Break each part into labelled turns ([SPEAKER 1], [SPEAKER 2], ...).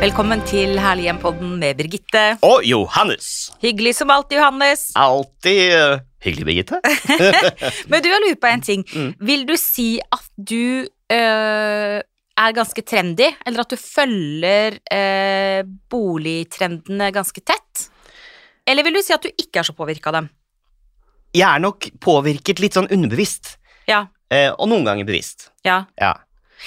[SPEAKER 1] Velkommen til Herlig hjem-podden med Birgitte.
[SPEAKER 2] Og Johannes.
[SPEAKER 1] Hyggelig som alltid, Johannes.
[SPEAKER 2] Alltid eh, hyggelig, Birgitte.
[SPEAKER 1] Men du, jeg lurer på en ting.
[SPEAKER 2] Mm.
[SPEAKER 1] Vil du si at du øh, er ganske trendy, eller at du følger øh, boligtrendene ganske tett? Eller vil du si at du ikke er så påvirka av dem?
[SPEAKER 2] Jeg er nok påvirket litt sånn underbevisst,
[SPEAKER 1] Ja,
[SPEAKER 2] eh, og noen ganger bevisst.
[SPEAKER 1] ja,
[SPEAKER 2] Ja.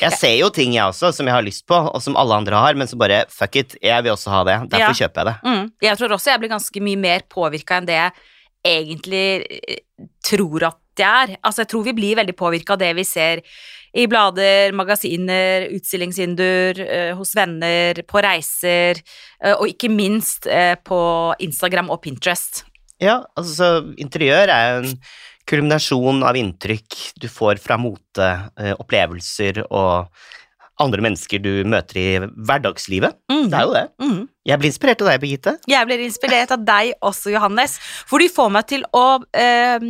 [SPEAKER 2] Jeg ser jo ting jeg også, som jeg har lyst på, og som alle andre har, men så bare fuck it, jeg vil også ha det. Derfor
[SPEAKER 1] Ja.
[SPEAKER 2] kjøper jeg det.
[SPEAKER 1] Mm. Jeg tror også jeg blir ganske mye mer påvirka enn det jeg egentlig eh, tror at det er. Altså, jeg tror vi blir veldig påvirka av det vi ser i blader, magasiner, utstillingsvinduer, eh, hos venner, på reiser, eh, og ikke minst eh, på Instagram og Pinterest.
[SPEAKER 2] Ja, altså så interiør er jo en kulminasjon av inntrykk du får fra mote, eh, opplevelser og andre mennesker du møter i hverdagslivet.
[SPEAKER 1] Mm.
[SPEAKER 2] Det er jo det.
[SPEAKER 1] Mm.
[SPEAKER 2] Jeg blir inspirert av deg, Birgitte.
[SPEAKER 1] Jeg blir inspirert av deg også, Johannes, for du får meg til å eh,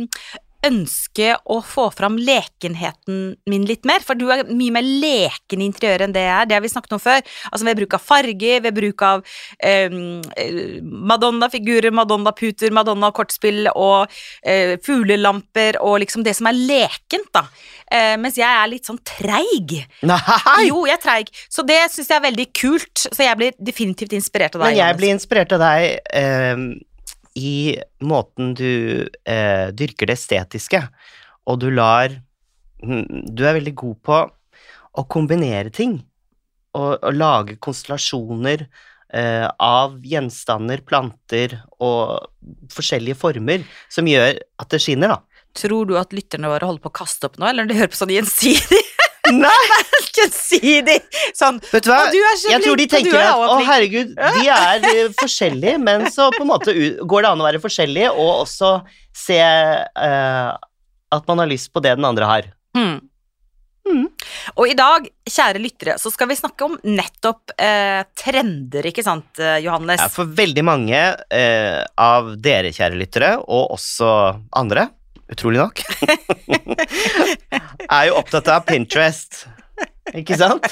[SPEAKER 1] ønske å få fram lekenheten min litt mer, for du er mye mer leken i interiøret enn det jeg er, det har vi snakket om før, altså ved bruk av farger, ved bruk av eh, eh, Madonna-figurer, Madonna-puter, Madonna-kortspill og eh, fuglelamper og liksom det som er lekent da, eh, mens jeg er litt sånn treig.
[SPEAKER 2] Nei!
[SPEAKER 1] Jo, jeg er treig, så det synes jeg er veldig kult, så jeg blir definitivt inspirert av deg,
[SPEAKER 2] Men jeg
[SPEAKER 1] Johannes.
[SPEAKER 2] blir inspirert av deg eh, i måten du eh, dyrker det estetiske, og du lar mm, Du er veldig god på å kombinere ting, og, og lage konstellasjoner eh, av gjenstander, planter og forskjellige former, som gjør at det skinner, da.
[SPEAKER 1] Tror du at lytterne våre holder på å kaste opp nå, eller de hører på sånn gjensidig?
[SPEAKER 2] Nei!
[SPEAKER 1] gjensidig sånn
[SPEAKER 2] Vet du hva?
[SPEAKER 1] Å, du er så
[SPEAKER 2] jeg tror de
[SPEAKER 1] flink, og du
[SPEAKER 2] tenker
[SPEAKER 1] er
[SPEAKER 2] at
[SPEAKER 1] også
[SPEAKER 2] å
[SPEAKER 1] flink».
[SPEAKER 2] herregud, de er eh, forskjellige, men så på en måte u- går det an å være forskjellige og også se eh, at man har lyst på det den andre har.
[SPEAKER 1] Mm. Og i dag, kjære lyttere, så skal vi snakke om nettopp eh, trender, ikke sant, eh, Johannes?
[SPEAKER 2] Ja, for veldig mange eh, av dere, kjære lyttere, og også andre, utrolig nok, er jo opptatt av Pinterest. Ikke sant?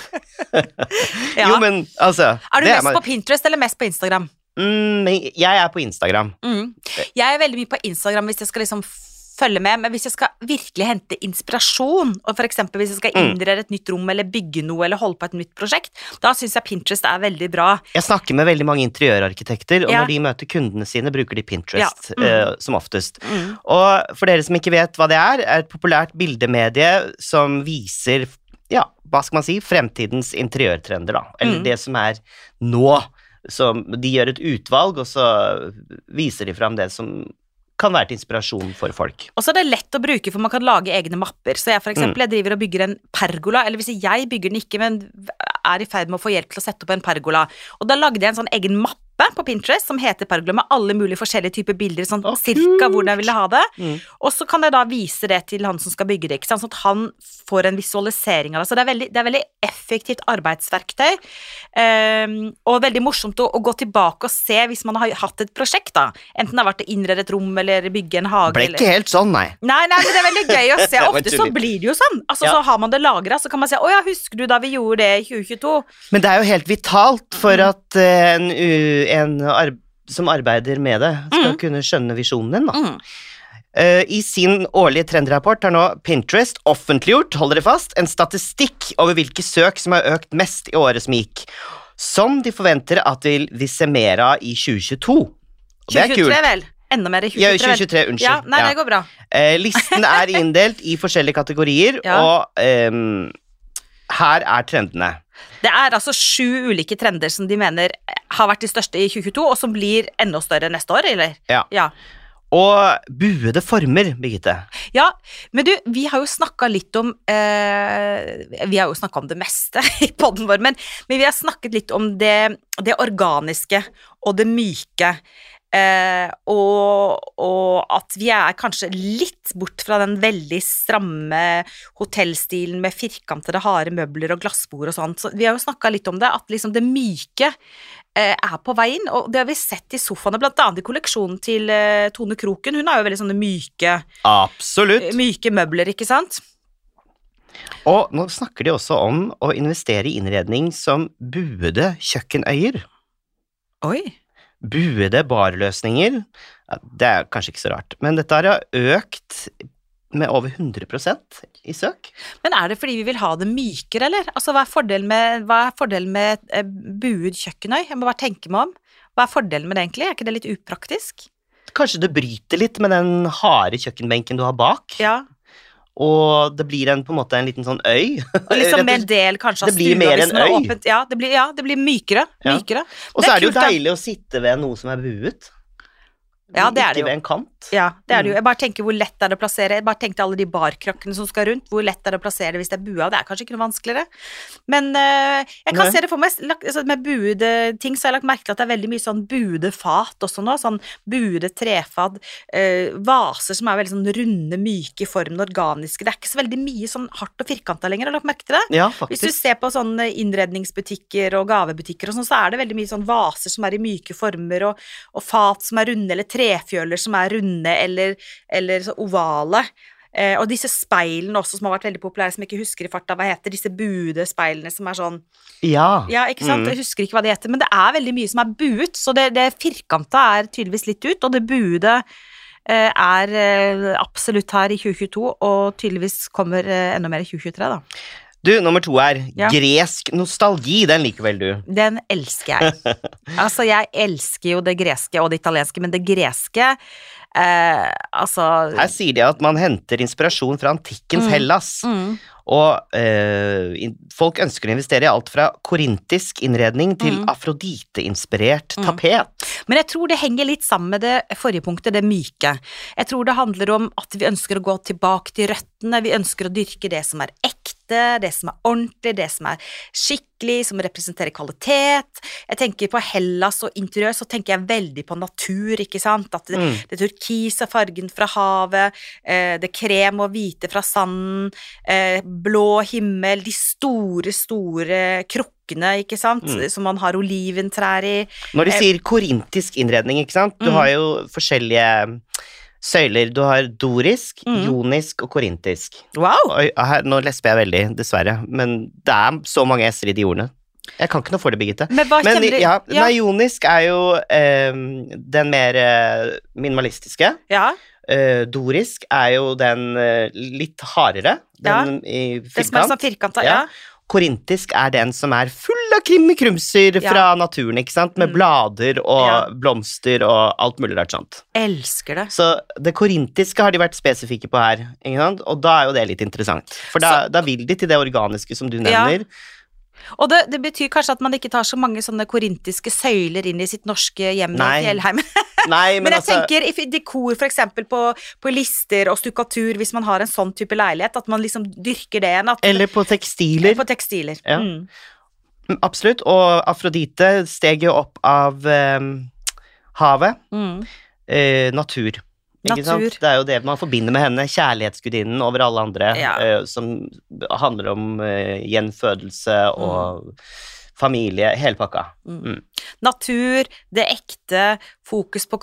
[SPEAKER 1] Ja.
[SPEAKER 2] Jo, men altså
[SPEAKER 1] er du
[SPEAKER 2] det
[SPEAKER 1] mest
[SPEAKER 2] man-
[SPEAKER 1] på Pinterest eller mest på Instagram?
[SPEAKER 2] Mm, men jeg er på Instagram.
[SPEAKER 1] Mm.
[SPEAKER 2] Eh.
[SPEAKER 1] Jeg er veldig mye på Instagram hvis jeg skal liksom følge med, men hvis jeg skal virkelig hente inspirasjon, og for eksempel hvis jeg skal
[SPEAKER 2] Mm.
[SPEAKER 1] innrede et nytt rom, eller bygge noe, eller holde på et nytt prosjekt, da syns jeg Pinterest er veldig bra.
[SPEAKER 2] Jeg snakker med veldig mange interiørarkitekter, og
[SPEAKER 1] Ja.
[SPEAKER 2] når de møter kundene sine, bruker de Pinterest
[SPEAKER 1] Ja, mm.
[SPEAKER 2] eh, som oftest.
[SPEAKER 1] Mm.
[SPEAKER 2] Og for dere som ikke vet hva det er, er et populært bildemedie som viser, ja, hva skal man si, fremtidens interiørtrender, da. Eller
[SPEAKER 1] Mm.
[SPEAKER 2] det som er nå. Som de gjør et utvalg, og så viser de fram det som kan være til inspirasjon for folk.
[SPEAKER 1] Og så er det lett å bruke, for man kan lage egne mapper. Så jeg for eksempel, jeg
[SPEAKER 2] Mm.
[SPEAKER 1] driver og bygger en pergola, eller hvis jeg bygger den ikke, men er i ferd med å få hjelp til å sette opp en pergola. Og da lagde jeg en sånn egen mappe på Pinterest som heter pergola, med alle mulige forskjellige typer bilder, sånn
[SPEAKER 2] Å,
[SPEAKER 1] cirka
[SPEAKER 2] kult!
[SPEAKER 1] hvordan jeg ville ha det.
[SPEAKER 2] Mm.
[SPEAKER 1] Og så kan jeg da vise det til han som skal bygge det, ikke sant? sånn at han får en visualisering av det. Så det er veldig, det er veldig effektivt arbeidsverktøy, ehm, og veldig morsomt å, å gå tilbake og se hvis man har hatt et prosjekt, da. Enten det har vært å innrede et rom, eller bygge en hage.
[SPEAKER 2] Ble
[SPEAKER 1] eller-
[SPEAKER 2] ikke helt sånn, nei.
[SPEAKER 1] Nei, nei, men det er veldig gøy å se.
[SPEAKER 2] Det var
[SPEAKER 1] Ofte så
[SPEAKER 2] tullete.
[SPEAKER 1] blir det jo sånn. Altså,
[SPEAKER 2] Ja.
[SPEAKER 1] Så har man det lagra, så kan man si 'Å ja, husker du da vi gjorde det i 2022?'
[SPEAKER 2] Men det er jo helt vitalt for at eh, en, u- en arb som arbeider med det, skal kunne skjønne visjonen din. Da.
[SPEAKER 1] Mm.
[SPEAKER 2] Eh, I sin årlige trendrapport har nå Pinterest offentliggjort hold dere fast, en statistikk over hvilke søk som har økt mest i året som gikk, som de forventer at vil vi se mer av i 2022. Og Det er
[SPEAKER 1] 2023,
[SPEAKER 2] kult.
[SPEAKER 1] vel. Enda mer i 2023.
[SPEAKER 2] Ja,
[SPEAKER 1] vel.
[SPEAKER 2] 2023, unnskyld.
[SPEAKER 1] Ja, nei,
[SPEAKER 2] Ja.
[SPEAKER 1] det går bra.
[SPEAKER 2] Eh, listen er inndelt i forskjellige kategorier,
[SPEAKER 1] Ja.
[SPEAKER 2] og ehm, her er trendene.
[SPEAKER 1] Det er altså sju ulike trender som de mener har vært de største i 2022, og som blir enda større neste år, eller?
[SPEAKER 2] Ja.
[SPEAKER 1] Ja,
[SPEAKER 2] Og buede former, Birgitte.
[SPEAKER 1] ja men du, vi har jo snakka litt om eh, Vi har jo snakka om det meste i poden vår, men, men vi har snakket litt om det, det organiske og det myke. Eh, og, og at vi er kanskje litt bort fra den veldig stramme hotellstilen med firkantede, harde møbler og glassbord og sånn. Så vi har jo snakka litt om det, at liksom det myke eh, er på vei inn. Og det har vi sett i sofaene, blant annet i kolleksjonen til eh, Tone Kroken. Hun har jo veldig sånne myke,
[SPEAKER 2] Absolutt.
[SPEAKER 1] myke møbler, ikke sant?
[SPEAKER 2] Og nå snakker de også om å investere i innredning som buede kjøkkenøyer.
[SPEAKER 1] Oi.
[SPEAKER 2] Buede barløsninger. Ja, Det er kanskje ikke så rart, men dette har jo økt med over 100 i søk.
[SPEAKER 1] Men er det fordi vi vil ha det mykere, eller? Altså, hva er fordelen med, hva er fordelen med et eh, buet kjøkkenøy? Jeg må bare tenke meg om. Hva er fordelen med det, egentlig? Er ikke det litt upraktisk?
[SPEAKER 2] Kanskje det bryter litt med den harde kjøkkenbenken du har bak,
[SPEAKER 1] Ja.
[SPEAKER 2] og det blir en, på en måte en liten sånn øy.
[SPEAKER 1] Og liksom med en
[SPEAKER 2] Rett og slett.
[SPEAKER 1] del kanskje av
[SPEAKER 2] Det blir
[SPEAKER 1] stua,
[SPEAKER 2] mer
[SPEAKER 1] hvis
[SPEAKER 2] en
[SPEAKER 1] man har
[SPEAKER 2] øy.
[SPEAKER 1] åpent- Ja, det blir, ja, det blir mykere.
[SPEAKER 2] Ja.
[SPEAKER 1] mykere.
[SPEAKER 2] og
[SPEAKER 1] det
[SPEAKER 2] så
[SPEAKER 1] er
[SPEAKER 2] er det jo
[SPEAKER 1] kult, da.
[SPEAKER 2] deilig å sitte ved noe som er buet.
[SPEAKER 1] Ja, det er
[SPEAKER 2] ikke
[SPEAKER 1] det jo.
[SPEAKER 2] ved en kant.
[SPEAKER 1] Ja, det er det jo.
[SPEAKER 2] Mm.
[SPEAKER 1] Jeg bare tenker hvor lett det er å plassere. Jeg bare tenkte alle de barkrakkene som skal rundt, hvor lett det er å plassere det hvis det er bua. Det er kanskje ikke noe vanskeligere. Men eh, jeg kan
[SPEAKER 2] Nei.
[SPEAKER 1] se det for meg. Lagt- altså, Med buede ting så har jeg lagt merke til at det er veldig mye sånn buede fat også nå. Sånn buede trefat. eh, vaser som er veldig sånn runde, myke i formen, organiske. Det er ikke så veldig mye sånn hardt og firkanta lenger. Har du lagt merke til det?
[SPEAKER 2] Ja,
[SPEAKER 1] Hvis du
[SPEAKER 2] faktisk.
[SPEAKER 1] ser på sånne innredningsbutikker og gavebutikker og sånn, så er det veldig mye sånn vaser som er i myke former, og, og fat som er runde, eller trefjøler som er runde, eller, eller så ovale. Eh, og disse speilene også som har vært veldig populære, som jeg ikke husker i farta hva heter, disse buede speilene som er sånn
[SPEAKER 2] Ja.
[SPEAKER 1] Ja, ikke sant,
[SPEAKER 2] Mm.
[SPEAKER 1] jeg husker ikke hva de heter, men det er veldig mye som er buet, så det, det firkanta er tydeligvis litt ut, og det buede eh, er eh, absolutt her i 2022, og tydeligvis kommer eh, enda mer i 2023, da.
[SPEAKER 2] Du, nummer to er
[SPEAKER 1] Ja.
[SPEAKER 2] gresk nostalgi. Den liker vel du?
[SPEAKER 1] Den elsker jeg. Altså, jeg elsker jo det greske og det italienske, men det greske eh, Altså
[SPEAKER 2] Her sier de at man henter inspirasjon fra antikkens
[SPEAKER 1] Mm.
[SPEAKER 2] Hellas.
[SPEAKER 1] mm,
[SPEAKER 2] Og eh, in- folk ønsker å investere i alt fra korintisk innredning til
[SPEAKER 1] Mm.
[SPEAKER 2] afroditeinspirert
[SPEAKER 1] Mm.
[SPEAKER 2] tapet.
[SPEAKER 1] Men jeg tror det henger litt sammen med det forrige punktet, det myke. Jeg tror det handler om at vi ønsker å gå tilbake til røttene, vi ønsker å dyrke det som er ekte, det som er ordentlig, det som er skikkelig, som representerer kvalitet. Jeg tenker på Hellas og interiør, så tenker jeg veldig på natur, ikke sant. At det,
[SPEAKER 2] Mm.
[SPEAKER 1] Det turkise fargen fra havet, eh, det krem og hvite fra sanden, eh, blå himmel, de store, store krukkene, ikke sant,
[SPEAKER 2] Mm.
[SPEAKER 1] som man har oliventrær i.
[SPEAKER 2] Når de
[SPEAKER 1] Eh.
[SPEAKER 2] sier korintisk innredning, ikke sant? Du
[SPEAKER 1] Mm.
[SPEAKER 2] har jo forskjellige mm, søyler. Du har dorisk,
[SPEAKER 1] Mm.
[SPEAKER 2] jonisk og korintisk.
[SPEAKER 1] Wow!
[SPEAKER 2] Oi, her, nå lesper jeg veldig, dessverre, men det er så mange s-er i de ordene. Jeg kan ikke noe for det, Birgitte.
[SPEAKER 1] Men hva
[SPEAKER 2] Men
[SPEAKER 1] kjenner du
[SPEAKER 2] ja,
[SPEAKER 1] Ah, ja,
[SPEAKER 2] nei, jonisk er jo eh, den mer eh, minimalistiske.
[SPEAKER 1] ja,
[SPEAKER 2] Eh, dorisk er jo den eh, litt hardere, den i
[SPEAKER 1] det som er
[SPEAKER 2] firkant.
[SPEAKER 1] sånn firkanta, ja.
[SPEAKER 2] Korintisk er den som er full av krimkrumser
[SPEAKER 1] Ja.
[SPEAKER 2] fra naturen, ikke sant? Med
[SPEAKER 1] Mm.
[SPEAKER 2] blader og
[SPEAKER 1] Ja.
[SPEAKER 2] blomster og alt mulig rart sånt.
[SPEAKER 1] Elsker det.
[SPEAKER 2] Så det korintiske har de vært spesifikke på her, ikke sant? og da er jo det litt interessant. For da, da vil de til det organiske som du
[SPEAKER 1] Ja.
[SPEAKER 2] nevner.
[SPEAKER 1] Og det, det betyr kanskje at man ikke tar så mange sånne korintiske søyler inn i sitt norske hjem nå i
[SPEAKER 2] Nei.
[SPEAKER 1] Fjellheim.
[SPEAKER 2] Nei, men,
[SPEAKER 1] Men jeg
[SPEAKER 2] altså
[SPEAKER 1] tenker i dekor for eksempel på, på lister og stukkatur, hvis man har en sånn type leilighet, at man liksom dyrker det igjen. At
[SPEAKER 2] Eller på tekstiler.
[SPEAKER 1] På tekstiler.
[SPEAKER 2] Ja.
[SPEAKER 1] Mm.
[SPEAKER 2] Mm, Absolutt. Og Afrodite steg jo opp av eh, havet.
[SPEAKER 1] Mm.
[SPEAKER 2] Eh, natur. Ikke
[SPEAKER 1] Natur.
[SPEAKER 2] Sant? Det er jo det man forbinder med henne. Kjærlighetsgudinnen over alle andre.
[SPEAKER 1] Ja.
[SPEAKER 2] eh, som handler om eh, gjenfødelse og familie. Hele pakka.
[SPEAKER 1] Natur, det ekte, fokus på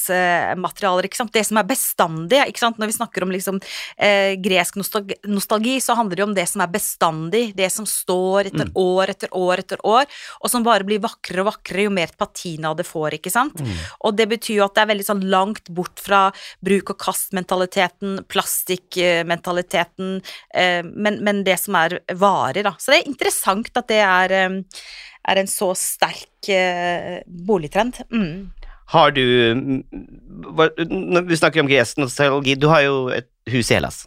[SPEAKER 1] kvalitetsmaterialer, ikke sant. Det som er bestandig, ikke sant. Når vi snakker om liksom eh, gresk nostalgi, nostalgi, så handler det om det som er bestandig. Det som står etter år etter år etter år, og som bare blir vakrere og vakrere jo mer patina det får, ikke sant. Og det betyr jo at det er veldig sånn langt bort fra bruk og kast-mentaliteten, plastikkmentaliteten, eh, men, men det som er varer, da. Så det er interessant at det er, eh, er en så sterk eh, boligtrend. Mm.
[SPEAKER 2] Har du mm, hva, Når vi snakker om gresk nostalgi, du har jo et hus i Hellas.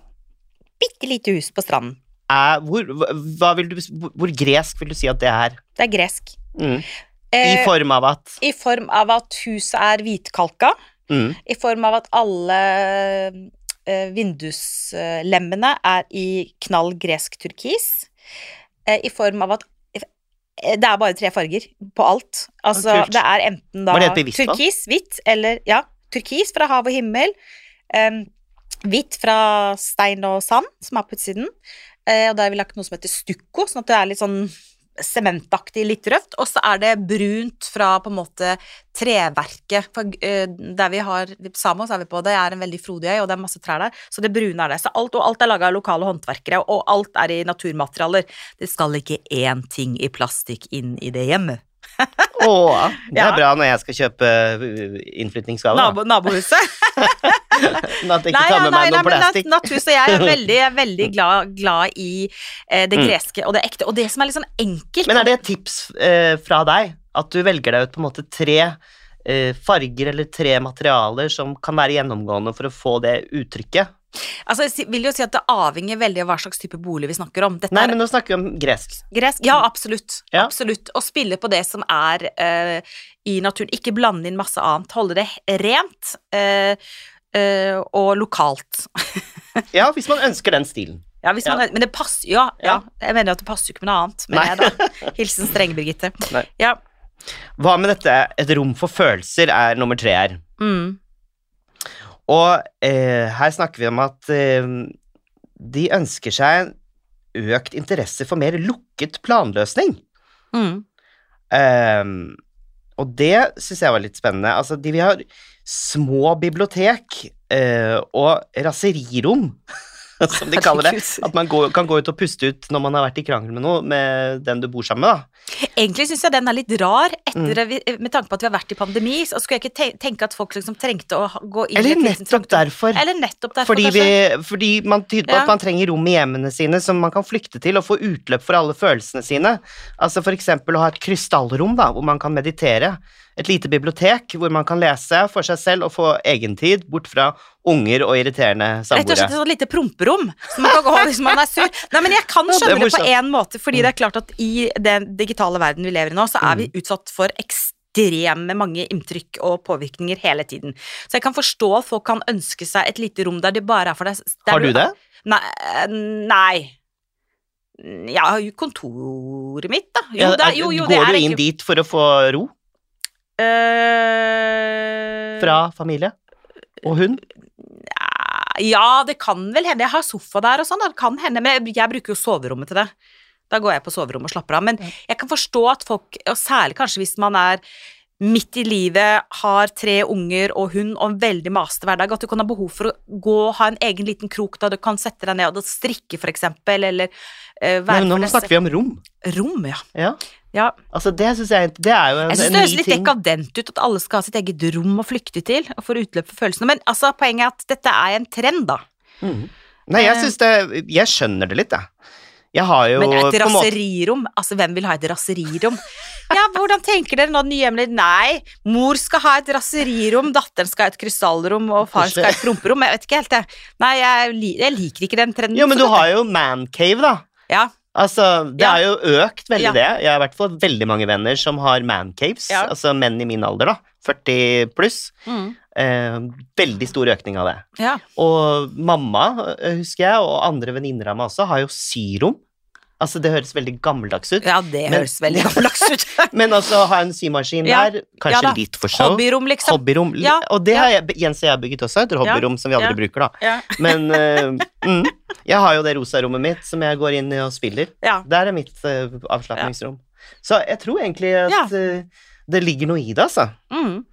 [SPEAKER 1] Bitte lite hus på stranden.
[SPEAKER 2] Er, hvor, hva- hva vil du, hvor gresk vil du si at det er?
[SPEAKER 1] Det er gresk.
[SPEAKER 2] Mm. I
[SPEAKER 1] Eh,
[SPEAKER 2] form av at
[SPEAKER 1] I form av at huset er hvitkalka,
[SPEAKER 2] mm.
[SPEAKER 1] i form av at alle eh, vinduslemmene er i knall gresk turkis, eh, i form av at eh, det er bare tre farger på alt. Altså,
[SPEAKER 2] Ja, kult.
[SPEAKER 1] det er enten da
[SPEAKER 2] Var det et bevisst valg?
[SPEAKER 1] turkis, hvitt, eller ja, turkis fra hav og himmel, em, hvitt fra stein og sand, som er på utsiden, eh, og da har vi lagt noe som heter stukko, sånn at det er litt sånn sementaktig, litt rødt, og så er det brunt fra på en måte treverket. For, eh, der vi har Samos er vi på, det er en veldig frodig øy, og det er masse trær der, så det brune er det. Så alt, og alt er laga av lokale håndverkere, og alt er i naturmaterialer. Det skal ikke én ting i plastikk inn i det hjemmet.
[SPEAKER 2] Å, det er
[SPEAKER 1] Ja.
[SPEAKER 2] bra når jeg skal kjøpe uh, innflyttingsgave. da.
[SPEAKER 1] Nabo, nabohuset.
[SPEAKER 2] Men At jeg ikke tar med meg noe
[SPEAKER 1] men nat-
[SPEAKER 2] plastikk.
[SPEAKER 1] Natthus og jeg er veldig, jeg er veldig glad, glad i eh, det
[SPEAKER 2] Mm.
[SPEAKER 1] greske og det ekte. Og det som er litt sånn enkelt
[SPEAKER 2] Men er det et tips eh, fra deg? At du velger deg ut på en måte tre eh, farger eller tre materialer som kan være gjennomgående for å få det uttrykket?
[SPEAKER 1] Altså, jeg si- vil jo si at det avhenger veldig av hva slags type bolig vi snakker om. Dette
[SPEAKER 2] Nei,
[SPEAKER 1] er
[SPEAKER 2] men nå snakker vi om gresk.
[SPEAKER 1] gresk Ja, absolutt.
[SPEAKER 2] Ja.
[SPEAKER 1] Absolutt. Og spille på det som er eh, i naturen. Ikke blande inn masse annet. Holde det he- rent eh, eh, og lokalt.
[SPEAKER 2] Ja, hvis man ønsker den stilen.
[SPEAKER 1] Ja, hvis man, Men det passer jo. Ja, ja. Jeg mener jo at det passer jo ikke med noe annet. Men
[SPEAKER 2] Nei.
[SPEAKER 1] jeg, da. Hilsen Strenge-Birgitte.
[SPEAKER 2] Nei.
[SPEAKER 1] Ja.
[SPEAKER 2] Hva med dette? Et rom for følelser er nummer tre her.
[SPEAKER 1] Mm.
[SPEAKER 2] Og eh, her snakker vi om at eh, de ønsker seg økt interesse for mer lukket planløsning.
[SPEAKER 1] Mm.
[SPEAKER 2] Ehm, og det syns jeg var litt spennende. Altså, de vil ha små bibliotek eh, og raserirom, som de kaller det.
[SPEAKER 1] Herregud.
[SPEAKER 2] At man går, kan gå ut og puste ut når man har vært i krangel med noe, med den du bor sammen med. da.
[SPEAKER 1] Egentlig syns jeg den er litt rar,
[SPEAKER 2] Mm.
[SPEAKER 1] etter, vi- med tanke på at vi har vært i pandemi. Så skulle jeg ikke te tenke at folk liksom trengte å ha- gå inn i
[SPEAKER 2] Eller
[SPEAKER 1] et
[SPEAKER 2] nettopp
[SPEAKER 1] tidspunkt-
[SPEAKER 2] derfor.
[SPEAKER 1] Eller nettopp derfor,
[SPEAKER 2] Fordi, vi,
[SPEAKER 1] kanskje.
[SPEAKER 2] fordi man tyder
[SPEAKER 1] Ja.
[SPEAKER 2] på at man trenger rom i hjemmene sine som man kan flykte til og få utløp for alle følelsene sine. Altså for eksempel å ha et krystallrom da, hvor man kan meditere. Et lite bibliotek hvor man kan lese for seg selv og få egentid bort fra unger og irriterende
[SPEAKER 1] Rett og slett et
[SPEAKER 2] samboere.
[SPEAKER 1] sånt lite promperom som man kan gå over hvis man er sur. Nei, men jeg kan
[SPEAKER 2] Ja, det er
[SPEAKER 1] skjønne det, på
[SPEAKER 2] morsomt. Mm.
[SPEAKER 1] én måte, fordi det er klart at i den digitale verden vi lever i nå, så er vi utsatt for ekstreme mange inntrykk og påvirkninger hele tiden. Så jeg kan forstå at folk kan ønske seg et lite rom der det bare er for deg. der
[SPEAKER 2] Har du det?
[SPEAKER 1] Nei, eh, nei. Jeg har jo kontoret mitt, da. Jo,
[SPEAKER 2] Ja,
[SPEAKER 1] da, jo, jo det
[SPEAKER 2] Eh, Går
[SPEAKER 1] er
[SPEAKER 2] du inn
[SPEAKER 1] egentlig
[SPEAKER 2] dit for å få ro
[SPEAKER 1] Eh,
[SPEAKER 2] fra familie og hund?
[SPEAKER 1] Ja, det kan vel hende. Jeg har sofa der og sånn, da. det kan hende. Men jeg, jeg bruker jo soverommet til det. Da går jeg på soverommet og slapper av. Men jeg kan forstå at folk, og særlig kanskje hvis man er midt i livet, har tre unger og hund og en veldig masete hverdag, at du kan ha behov for å gå og ha en egen liten krok da du kan sette deg ned og strikke, for eksempel, eller eh, være
[SPEAKER 2] Men nå
[SPEAKER 1] for deg
[SPEAKER 2] snakker vi om rom.
[SPEAKER 1] selv. Rom, ja.
[SPEAKER 2] Ja.
[SPEAKER 1] ja.
[SPEAKER 2] Altså, det, synes jeg, det er jo
[SPEAKER 1] Jeg synes
[SPEAKER 2] en, Altså, en
[SPEAKER 1] det høres
[SPEAKER 2] ny
[SPEAKER 1] litt
[SPEAKER 2] ting.
[SPEAKER 1] dekadent ut at alle skal ha sitt eget rom å flykte til og få utløp for følelsene, men altså, poenget er at dette er en trend, da.
[SPEAKER 2] Mhm. Nei, jeg
[SPEAKER 1] Eh.
[SPEAKER 2] synes det Jeg skjønner det litt, jeg. Jeg har jo
[SPEAKER 1] Men et
[SPEAKER 2] på en måte
[SPEAKER 1] raserirom, altså hvem vil ha et raserirom? Ja, hvordan tenker dere nå den nye hjemler? Nei, mor skal ha et raserirom, datteren skal ha et krystallrom, og far skal ha et promperom. Jeg vet ikke helt, jeg. Nei, jeg, li jeg liker ikke den trenden.
[SPEAKER 2] Jo, men
[SPEAKER 1] så
[SPEAKER 2] du
[SPEAKER 1] dette-
[SPEAKER 2] har jo mancave, da.
[SPEAKER 1] Ja,
[SPEAKER 2] Altså, det
[SPEAKER 1] Ja.
[SPEAKER 2] har jo økt veldig,
[SPEAKER 1] Ja.
[SPEAKER 2] det. Jeg har i hvert fall veldig mange venner som har mancaves.
[SPEAKER 1] Ja.
[SPEAKER 2] Altså menn i min alder, da. 40 pluss.
[SPEAKER 1] mm,
[SPEAKER 2] Eh, veldig stor økning av det.
[SPEAKER 1] ja.
[SPEAKER 2] Og mamma, eh, husker jeg, og andre venninner av meg også, har jo syrom. Altså, det høres veldig gammeldags ut.
[SPEAKER 1] ja, det
[SPEAKER 2] Men-
[SPEAKER 1] høres veldig gammeldags ut.
[SPEAKER 2] Men også ha en symaskin
[SPEAKER 1] Ja.
[SPEAKER 2] der,
[SPEAKER 1] Ja
[SPEAKER 2] kanskje
[SPEAKER 1] da.
[SPEAKER 2] litt for show.
[SPEAKER 1] Hobbyrom, liksom.
[SPEAKER 2] Hobbyrom.
[SPEAKER 1] Ja,
[SPEAKER 2] Og det
[SPEAKER 1] ja.
[SPEAKER 2] har jeg, Jens og jeg har bygget også, et hobbyrom som vi
[SPEAKER 1] ja.
[SPEAKER 2] aldri bruker, da.
[SPEAKER 1] Ja.
[SPEAKER 2] Men eh, mm, jeg har jo det rosa rommet mitt som jeg går inn i og spiller.
[SPEAKER 1] Ja.
[SPEAKER 2] Der er mitt eh, avslapningsrom. Så jeg tror egentlig at
[SPEAKER 1] Ja.
[SPEAKER 2] eh, det ligger noe i det, altså.
[SPEAKER 1] Mm.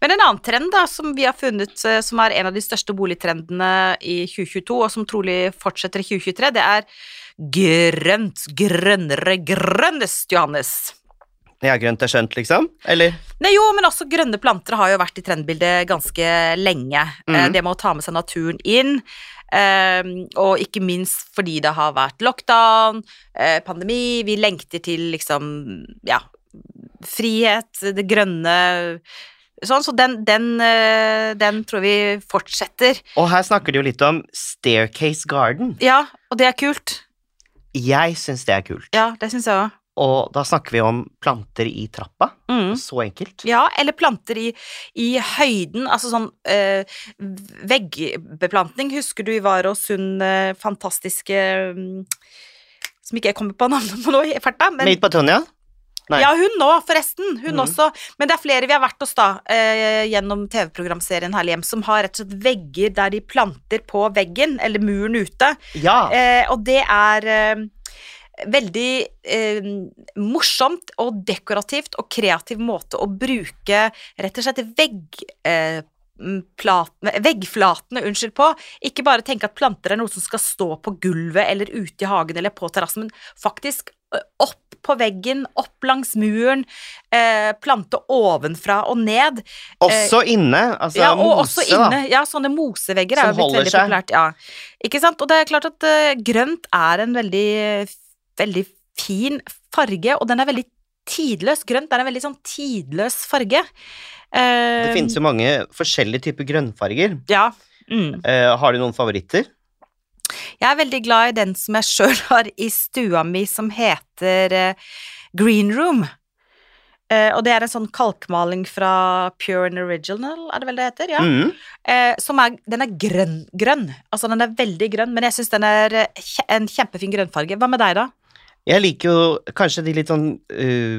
[SPEAKER 1] Men en annen trend da, som vi har funnet, eh, som er en av de største boligtrendene i 2022, og som trolig fortsetter i 2023, det er grønt, grønnere, grønnest, Johannes.
[SPEAKER 2] Ja, grønt er skjønt, liksom. Eller
[SPEAKER 1] Nei, jo, men også grønne planter har jo vært i trendbildet ganske lenge.
[SPEAKER 2] Mhm.
[SPEAKER 1] Eh, Det med å ta med seg naturen inn, eh, og ikke minst fordi det har vært lockdown, eh, pandemi, vi lengter til liksom, ja, frihet, det grønne, sånn, så den, den, eh, den tror vi fortsetter.
[SPEAKER 2] Og her snakker de jo litt om Staircase Garden.
[SPEAKER 1] Ja, og det er kult.
[SPEAKER 2] Jeg syns det er kult.
[SPEAKER 1] Ja, det synes jeg også.
[SPEAKER 2] Og da snakker vi om planter i trappa.
[SPEAKER 1] Mm.
[SPEAKER 2] Så enkelt.
[SPEAKER 1] Ja, eller planter i, i høyden, altså sånn eh, veggbeplantning. Husker du vi var hos hun eh, fantastiske mm, Som ikke jeg kommer på navnet på nå i farta, men
[SPEAKER 2] Midt på Tonja. Nei.
[SPEAKER 1] Ja, hun nå, forresten. Hun
[SPEAKER 2] Mm.
[SPEAKER 1] også. Men det er flere vi har vært hos, da, eh, gjennom TV-programserien Herlig hjem, som har rett og slett vegger der de planter på veggen, eller muren ute.
[SPEAKER 2] Ja.
[SPEAKER 1] Eh, og det er eh, veldig eh, morsomt og dekorativt og kreativ måte å bruke rett og slett vegg, eh, plat- veggflatene unnskyld, på. Ikke bare tenke at planter er noe som skal stå på gulvet eller ute i hagen eller på terrassen, men faktisk eh, opp på veggen, opp langs muren, eh, plante ovenfra og ned.
[SPEAKER 2] Også inne. Altså
[SPEAKER 1] Ja, og
[SPEAKER 2] mose,
[SPEAKER 1] også inne. Ja, sånne mosevegger er jo
[SPEAKER 2] Som
[SPEAKER 1] blitt
[SPEAKER 2] holder
[SPEAKER 1] veldig
[SPEAKER 2] seg.
[SPEAKER 1] populært. Ja. Ikke sant? Og det er klart at eh, grønt er en veldig, veldig fin farge, og den er veldig tidløs. Grønt er en veldig sånn tidløs farge. Eh,
[SPEAKER 2] da. Det
[SPEAKER 1] um,
[SPEAKER 2] finnes jo mange forskjellige typer grønnfarger.
[SPEAKER 1] Ja. Mm.
[SPEAKER 2] Eh, har du noen favoritter?
[SPEAKER 1] Jeg er veldig glad i den som jeg sjøl har i stua mi, som heter eh, Green Room. Eh, og det er en sånn kalkmaling fra Pure and Original, er det vel det heter? Ja.
[SPEAKER 2] Mm.
[SPEAKER 1] Eh, som er, den er grønn, grønn. Altså den er veldig grønn, men jeg syns den er eh, kje- en kjempefin grønnfarge. Hva med deg, da?
[SPEAKER 2] Jeg liker jo kanskje de litt sånn eh,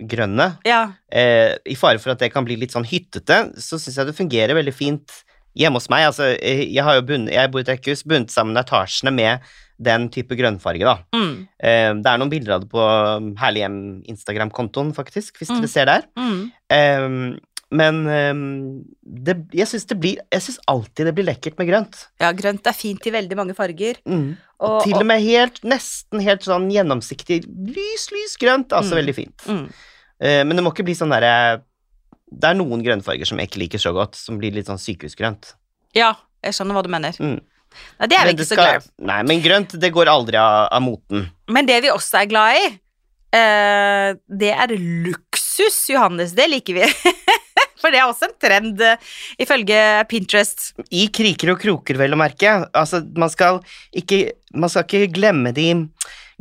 [SPEAKER 2] grågrønne.
[SPEAKER 1] Ja,
[SPEAKER 2] Eh, I fare for at det kan bli litt sånn hyttete, så syns jeg det fungerer veldig fint hjemme hos meg. Altså, eh, jeg, har jo bunn- jeg bor i et rekkehus, bundet sammen etasjene med den type grønnfarge, da.
[SPEAKER 1] mm,
[SPEAKER 2] Eh, det er noen bilder av det på um, Herlig hjem-Instagram-kontoen, faktisk, hvis
[SPEAKER 1] Mm.
[SPEAKER 2] dere ser der.
[SPEAKER 1] mm.
[SPEAKER 2] Eh, men eh, det, jeg syns det blir Jeg syns alltid det blir lekkert med grønt.
[SPEAKER 1] ja grønt er fint i veldig mange farger. Mm. Og,
[SPEAKER 2] Til og med helt, nesten helt sånn gjennomsiktig lys, lys grønt. Altså
[SPEAKER 1] Mm.
[SPEAKER 2] veldig fint.
[SPEAKER 1] Mm.
[SPEAKER 2] Eh, men det må ikke bli sånn derre Det er noen grønnfarger som jeg ikke liker så godt, som blir litt sånn sykehusgrønt.
[SPEAKER 1] Ja, jeg skjønner hva du mener.
[SPEAKER 2] Mm.
[SPEAKER 1] Nei, det er vi
[SPEAKER 2] Men
[SPEAKER 1] ikke
[SPEAKER 2] det
[SPEAKER 1] så
[SPEAKER 2] skal-
[SPEAKER 1] glad i.
[SPEAKER 2] Nei, men grønt, det går aldri av, av moten.
[SPEAKER 1] Men det vi også er glad i, eh, det er luksus, Johannes. Det liker vi. For det er også en trend, eh, ifølge Pinterest.
[SPEAKER 2] I kriker og kroker, vel å merke. Altså, man skal ikke, man skal ikke glemme de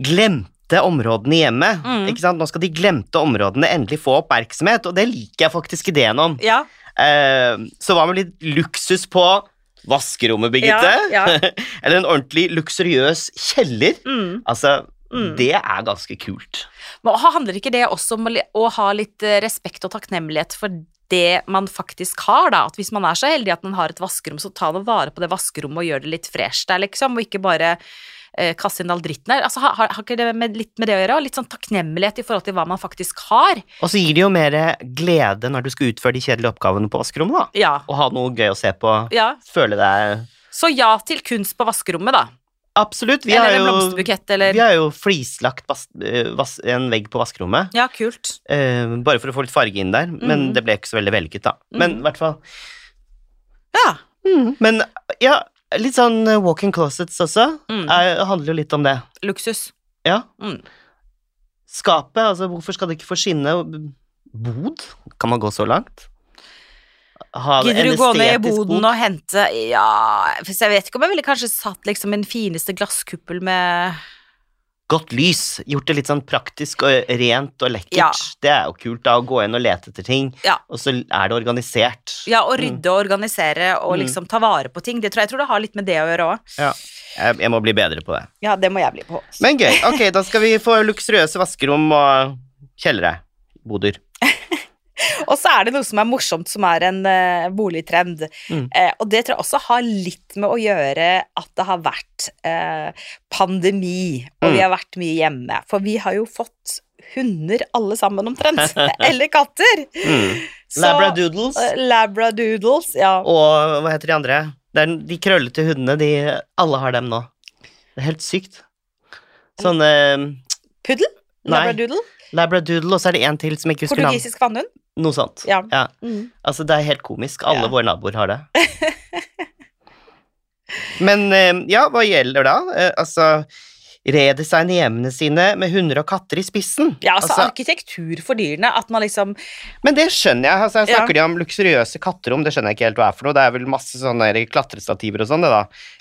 [SPEAKER 2] glemte områdene i hjemmet.
[SPEAKER 1] Mm.
[SPEAKER 2] Ikke sant? Nå skal de glemte områdene endelig få oppmerksomhet, og det liker jeg faktisk ideen om.
[SPEAKER 1] Ja,
[SPEAKER 2] Eh, så hva med litt luksus på vaskerommet, Birgitte?
[SPEAKER 1] Ja, ja.
[SPEAKER 2] Eller en ordentlig luksuriøs kjeller?
[SPEAKER 1] mm.
[SPEAKER 2] Altså,
[SPEAKER 1] Mm.
[SPEAKER 2] det er ganske kult.
[SPEAKER 1] Men ha- handler ikke det også om å li- å ha litt eh, respekt og takknemlighet for det man faktisk har, da? At hvis man er så heldig at man har et vaskerom, så ta nå vare på det vaskerommet og gjør det litt fresh der, liksom, og ikke bare eh, kaste inn all dritten der. Altså, har, har- har ikke det med, litt med det å gjøre? Og litt sånn takknemlighet i forhold til hva man faktisk har.
[SPEAKER 2] Og så gir det jo mer glede når du skal utføre de kjedelige oppgavene på vaskerommet, da.
[SPEAKER 1] Ja.
[SPEAKER 2] Og ha noe gøy å se på.
[SPEAKER 1] Ja.
[SPEAKER 2] Føle deg
[SPEAKER 1] Så ja til kunst på vaskerommet, da.
[SPEAKER 2] Absolutt. Vi har
[SPEAKER 1] eller en
[SPEAKER 2] jo,
[SPEAKER 1] blomsterbukett, eller
[SPEAKER 2] vi har jo flislagt vas eh, vas en vegg på vaskerommet.
[SPEAKER 1] Ja, kult.
[SPEAKER 2] eh, bare for å få litt farge inn der,
[SPEAKER 1] Mhm.
[SPEAKER 2] men det ble ikke så veldig vellykket, da. Men i
[SPEAKER 1] Mhm.
[SPEAKER 2] hvert fall
[SPEAKER 1] Ja.
[SPEAKER 2] Men ja, litt sånn eh, walk-in closets også.
[SPEAKER 1] Mm.
[SPEAKER 2] er, handler jo litt om det.
[SPEAKER 1] Luksus.
[SPEAKER 2] Ja.
[SPEAKER 1] Mm.
[SPEAKER 2] Skapet, altså hvorfor skal det ikke få skinne? Bod? Kan man gå så langt? Ha
[SPEAKER 1] Gidder
[SPEAKER 2] en
[SPEAKER 1] du gå ned i
[SPEAKER 2] estetisk
[SPEAKER 1] boden og hente Ja, for jeg vet ikke om jeg ville kanskje satt liksom min fineste glasskuppel med
[SPEAKER 2] Godt lys. Gjort det litt sånn praktisk og rent og lekkert.
[SPEAKER 1] Ja.
[SPEAKER 2] Det er jo kult, da, å gå inn og lete etter ting,
[SPEAKER 1] Ja.
[SPEAKER 2] og så er det organisert.
[SPEAKER 1] Ja, å rydde og organisere og
[SPEAKER 2] Mm.
[SPEAKER 1] liksom ta vare på ting. Det tror jeg, jeg tror det har litt med det å gjøre òg.
[SPEAKER 2] Jeg, jeg må bli bedre på det.
[SPEAKER 1] Ja, det må jeg bli på.
[SPEAKER 2] Men gøy. Ok, da skal vi få luksuriøse vaskerom og kjellere. Boder.
[SPEAKER 1] Og så er det noe som er morsomt, som er en eh, boligtrend.
[SPEAKER 2] Mm.
[SPEAKER 1] Eh, og det tror jeg også har litt med å gjøre at det har vært eh, pandemi, og
[SPEAKER 2] Mm.
[SPEAKER 1] vi har vært mye hjemme. For vi har jo fått hunder alle sammen omtrent. Eller katter.
[SPEAKER 2] Mm.
[SPEAKER 1] Så-
[SPEAKER 2] Labradoodles.
[SPEAKER 1] eh, Labradoodles, ja.
[SPEAKER 2] Og hva heter de andre? Det er de krøllete hundene. De, alle har dem nå. Det er helt sykt. Sånn eh,
[SPEAKER 1] Puddel?
[SPEAKER 2] Nei.
[SPEAKER 1] Labradoodle?
[SPEAKER 2] labradoodle, og så er det en til som jeg ikke husker navnet.
[SPEAKER 1] Portugisisk vannhund?
[SPEAKER 2] Noe sånt.
[SPEAKER 1] Ja.
[SPEAKER 2] Ja.
[SPEAKER 1] Mm.
[SPEAKER 2] Altså, det er helt komisk. Alle
[SPEAKER 1] Ja.
[SPEAKER 2] våre naboer har det. Men eh, ja, hva gjelder da? Eh, altså redesigne hjemmene sine med hunder og katter i spissen.
[SPEAKER 1] Ja, altså,
[SPEAKER 2] Altså,
[SPEAKER 1] arkitektur for dyrene, at man liksom
[SPEAKER 2] men det skjønner jeg. Altså, jeg
[SPEAKER 1] Ja.
[SPEAKER 2] snakker de om luksuriøse katterom, det skjønner jeg ikke helt hva er for noe. Det er vel masse sånne der klatrestativer og sånn, det da.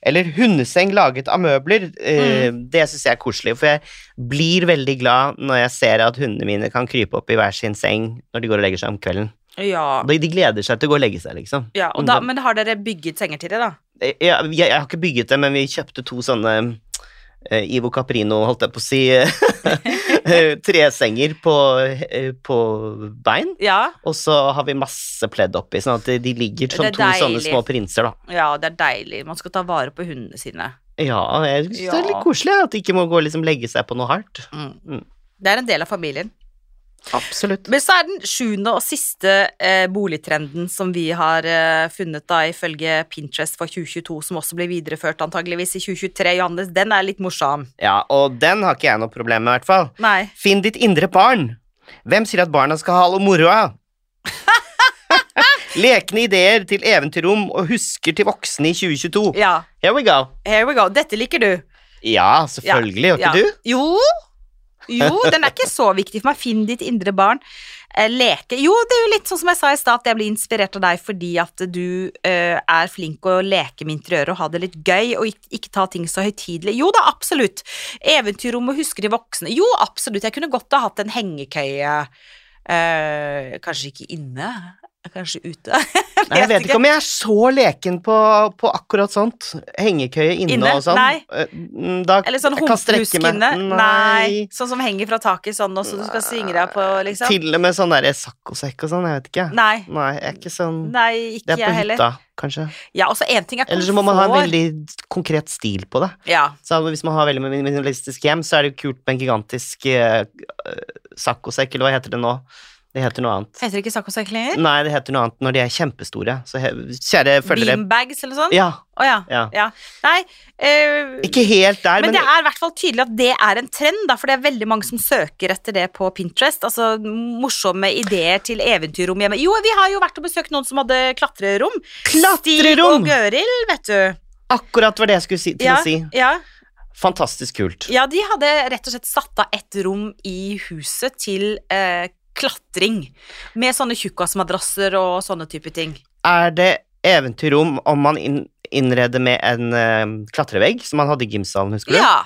[SPEAKER 2] Eller hundeseng laget av møbler. Eh, Det syns jeg er koselig, for jeg blir veldig glad når jeg ser at hundene mine kan krype opp i hver sin seng når de går og legger seg om kvelden.
[SPEAKER 1] Ja.
[SPEAKER 2] De, de gleder seg til å gå og legge seg, liksom.
[SPEAKER 1] ja og da, men har dere bygget senger til det, da?
[SPEAKER 2] Jeg, jeg, jeg har ikke bygget det, men vi kjøpte to sånne eh, Ivo Caprino, holdt jeg på å si, eh, tresenger på, eh, på bein.
[SPEAKER 1] Ja.
[SPEAKER 2] Og så har vi masse pledd oppi, sånn at de ligger som
[SPEAKER 1] Det er
[SPEAKER 2] to sånne
[SPEAKER 1] deilig.
[SPEAKER 2] små prinser, da.
[SPEAKER 1] Ja, det er deilig. Man skal ta vare på hundene sine.
[SPEAKER 2] Ja, jeg syns det er
[SPEAKER 1] Ja.
[SPEAKER 2] litt koselig at de ikke må gå og liksom legge seg på noe hardt. Mm.
[SPEAKER 1] Det er en del av familien.
[SPEAKER 2] Absolutt.
[SPEAKER 1] Men så er den sjuende og siste eh, boligtrenden som vi har eh, funnet da ifølge Pinterest for 2022, som også blir videreført antageligvis i 2023, Johannes, den er litt morsom.
[SPEAKER 2] Ja, og den har ikke jeg noe problem med, i hvert fall.
[SPEAKER 1] Nei.
[SPEAKER 2] Finn ditt indre barn. Hvem sier at barna skal ha all moroa? Lekende ideer til eventyrrom og husker til voksne i 2022.
[SPEAKER 1] Ja,
[SPEAKER 2] Here we go.
[SPEAKER 1] here we go. Dette liker du.
[SPEAKER 2] Ja, selvfølgelig. Gjør
[SPEAKER 1] Ja.
[SPEAKER 2] ikke du?
[SPEAKER 1] Jo. Jo, den er ikke så viktig for meg. Finn ditt indre barn. Eh, leke. Jo, det er jo litt sånn som jeg sa i stad, at jeg blir inspirert av deg fordi at du eh, er flink å leke med interiøret og ha det litt gøy, og ikke, ikke ta ting så høytidelig. Jo da, absolutt. Eventyrrom og huske de voksne. Jo, absolutt. Jeg kunne godt ha hatt en hengekøye. eh, kanskje ikke inne, kanskje ute.
[SPEAKER 2] Nei, jeg vet ikke om jeg er så leken på, på akkurat sånt. Hengekøye inne,
[SPEAKER 1] Inne?
[SPEAKER 2] og sånn.
[SPEAKER 1] Nei.
[SPEAKER 2] Eh, mm, Da
[SPEAKER 1] Eller sånn
[SPEAKER 2] jeg kan strekke
[SPEAKER 1] humpehusk
[SPEAKER 2] meg.
[SPEAKER 1] inne. Nei.
[SPEAKER 2] Nei.
[SPEAKER 1] Sånn som henger fra taket sånn, og som du skal svinge deg på, liksom.
[SPEAKER 2] Til og med sånn derre sakkosekk og sånn. Jeg vet ikke.
[SPEAKER 1] Nei.
[SPEAKER 2] Nei, jeg er ikke sånn
[SPEAKER 1] Nei, ikke
[SPEAKER 2] Det er på
[SPEAKER 1] jeg heller. Sånn
[SPEAKER 2] hytta, kanskje.
[SPEAKER 1] Ja, også en ting er
[SPEAKER 2] Eller så må man ha en
[SPEAKER 1] komfort.
[SPEAKER 2] veldig konkret stil på det.
[SPEAKER 1] Ja,
[SPEAKER 2] Så hvis man har veldig min- minimalistisk hjem, så er det jo kult med en gigantisk eh, saccosekk, eller hva heter det nå? Det heter noe annet.
[SPEAKER 1] Heter det ikke saccosekk lenger?
[SPEAKER 2] Nei, det heter noe annet når de er kjempestore. Så he, kjære følgere
[SPEAKER 1] Beanbags eller sånn? Å
[SPEAKER 2] Mm, Ja,
[SPEAKER 1] ja.
[SPEAKER 2] ja.
[SPEAKER 1] ja. Nei eh,
[SPEAKER 2] Ikke helt der,
[SPEAKER 1] men,
[SPEAKER 2] men,
[SPEAKER 1] det er i hvert fall tydelig at det er en trend, da, for det er veldig mange som søker etter det på Pinterest. Altså morsomme ideer til eventyrrom hjemme. Jo, vi har jo vært og besøkt noen som hadde klatrerom. Stig
[SPEAKER 2] Klatrerom!
[SPEAKER 1] og Gøril, vet du.
[SPEAKER 2] akkurat var det jeg skulle si, til
[SPEAKER 1] Ja,
[SPEAKER 2] å si.
[SPEAKER 1] ja.
[SPEAKER 2] Fantastisk kult.
[SPEAKER 1] ja, de hadde rett og slett satt av et rom i huset til eh, klatring. Med sånne tjukkasmadrasser og sånne type ting.
[SPEAKER 2] Er det eventyrrom om man inn, innreder med en eh, klatrevegg, som man hadde i gymsalen, husker du?
[SPEAKER 1] Ja,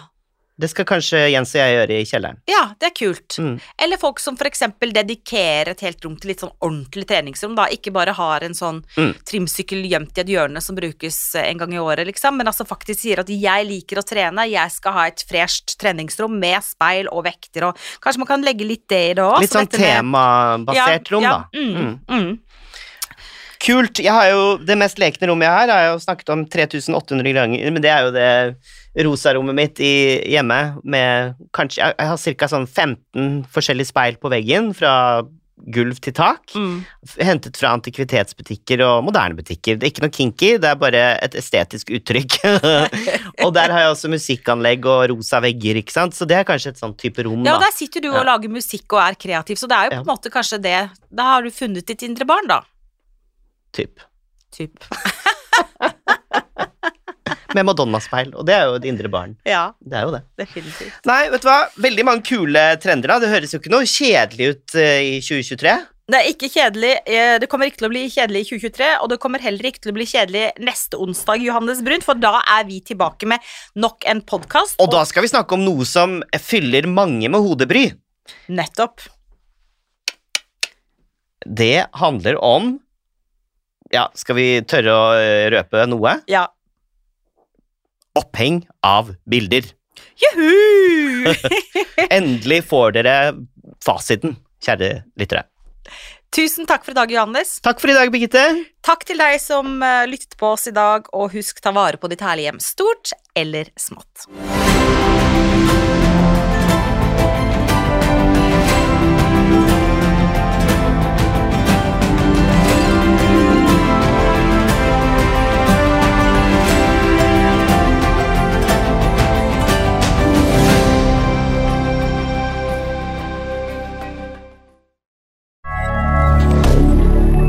[SPEAKER 2] Det skal kanskje Jens og jeg gjøre i kjelleren.
[SPEAKER 1] ja, det er kult.
[SPEAKER 2] Mm.
[SPEAKER 1] Eller folk som f.eks. dedikerer et helt rom til litt sånn ordentlig treningsrom, da. Ikke bare har en sånn
[SPEAKER 2] Mm.
[SPEAKER 1] trimsykkel gjemt i et hjørne som brukes eh, en gang i året, liksom, men altså faktisk sier at jeg liker å trene, jeg skal ha et fresht treningsrom med speil og vekter og Kanskje man kan legge litt det i det òg?
[SPEAKER 2] Litt sånn temabasert rom, da.
[SPEAKER 1] Mm,
[SPEAKER 2] Mm.
[SPEAKER 1] mm.
[SPEAKER 2] Kult. Jeg har jo det mest lekne rommet jeg har, har jeg jo snakket om 3800 ganger, men det er jo det rosa rommet mitt i, hjemme med kanskje Jeg, jeg har ca. sånn 15 forskjellige speil på veggen fra gulv til tak.
[SPEAKER 1] Mm.
[SPEAKER 2] f- Hentet fra antikvitetsbutikker og moderne butikker. Det er ikke noe kinky, det er bare et estetisk uttrykk. og der har jeg også musikkanlegg og rosa vegger, ikke sant, så det er kanskje et sånn type rom,
[SPEAKER 1] Ja, og
[SPEAKER 2] da.
[SPEAKER 1] der sitter du
[SPEAKER 2] Ja.
[SPEAKER 1] og lager musikk og er kreativ, så det er jo på en
[SPEAKER 2] Ja.
[SPEAKER 1] måte kanskje det Da har du funnet ditt indre barn, da.
[SPEAKER 2] Typ.
[SPEAKER 1] Typ.
[SPEAKER 2] Med Madonna-speil, og det er jo et indre barn.
[SPEAKER 1] Ja,
[SPEAKER 2] Det er jo det.
[SPEAKER 1] definitivt.
[SPEAKER 2] Nei, vet du hva? Veldig mange kule trender. da. Det høres jo ikke noe kjedelig ut eh, i 2023.
[SPEAKER 1] Det er ikke kjedelig. eh, Det kommer ikke til å bli kjedelig i 2023, og det kommer heller ikke til å bli kjedelig neste onsdag, Johannes Brunt, for da er vi tilbake med nok en podkast.
[SPEAKER 2] Og da skal vi snakke om noe som fyller mange med hodebry.
[SPEAKER 1] Nettopp.
[SPEAKER 2] Det handler om Ja, skal vi tørre å eh, røpe noe?
[SPEAKER 1] Ja.
[SPEAKER 2] Oppheng av bilder.
[SPEAKER 1] Juhu!
[SPEAKER 2] Endelig får dere fasiten, kjære lyttere.
[SPEAKER 1] Tusen takk for i dag, Johannes.
[SPEAKER 2] Takk for i dag, Birgitte.
[SPEAKER 1] Takk til deg som eh, lyttet på oss i dag, og husk ta vare på ditt herlige hjem, stort eller smått.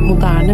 [SPEAKER 3] Moderne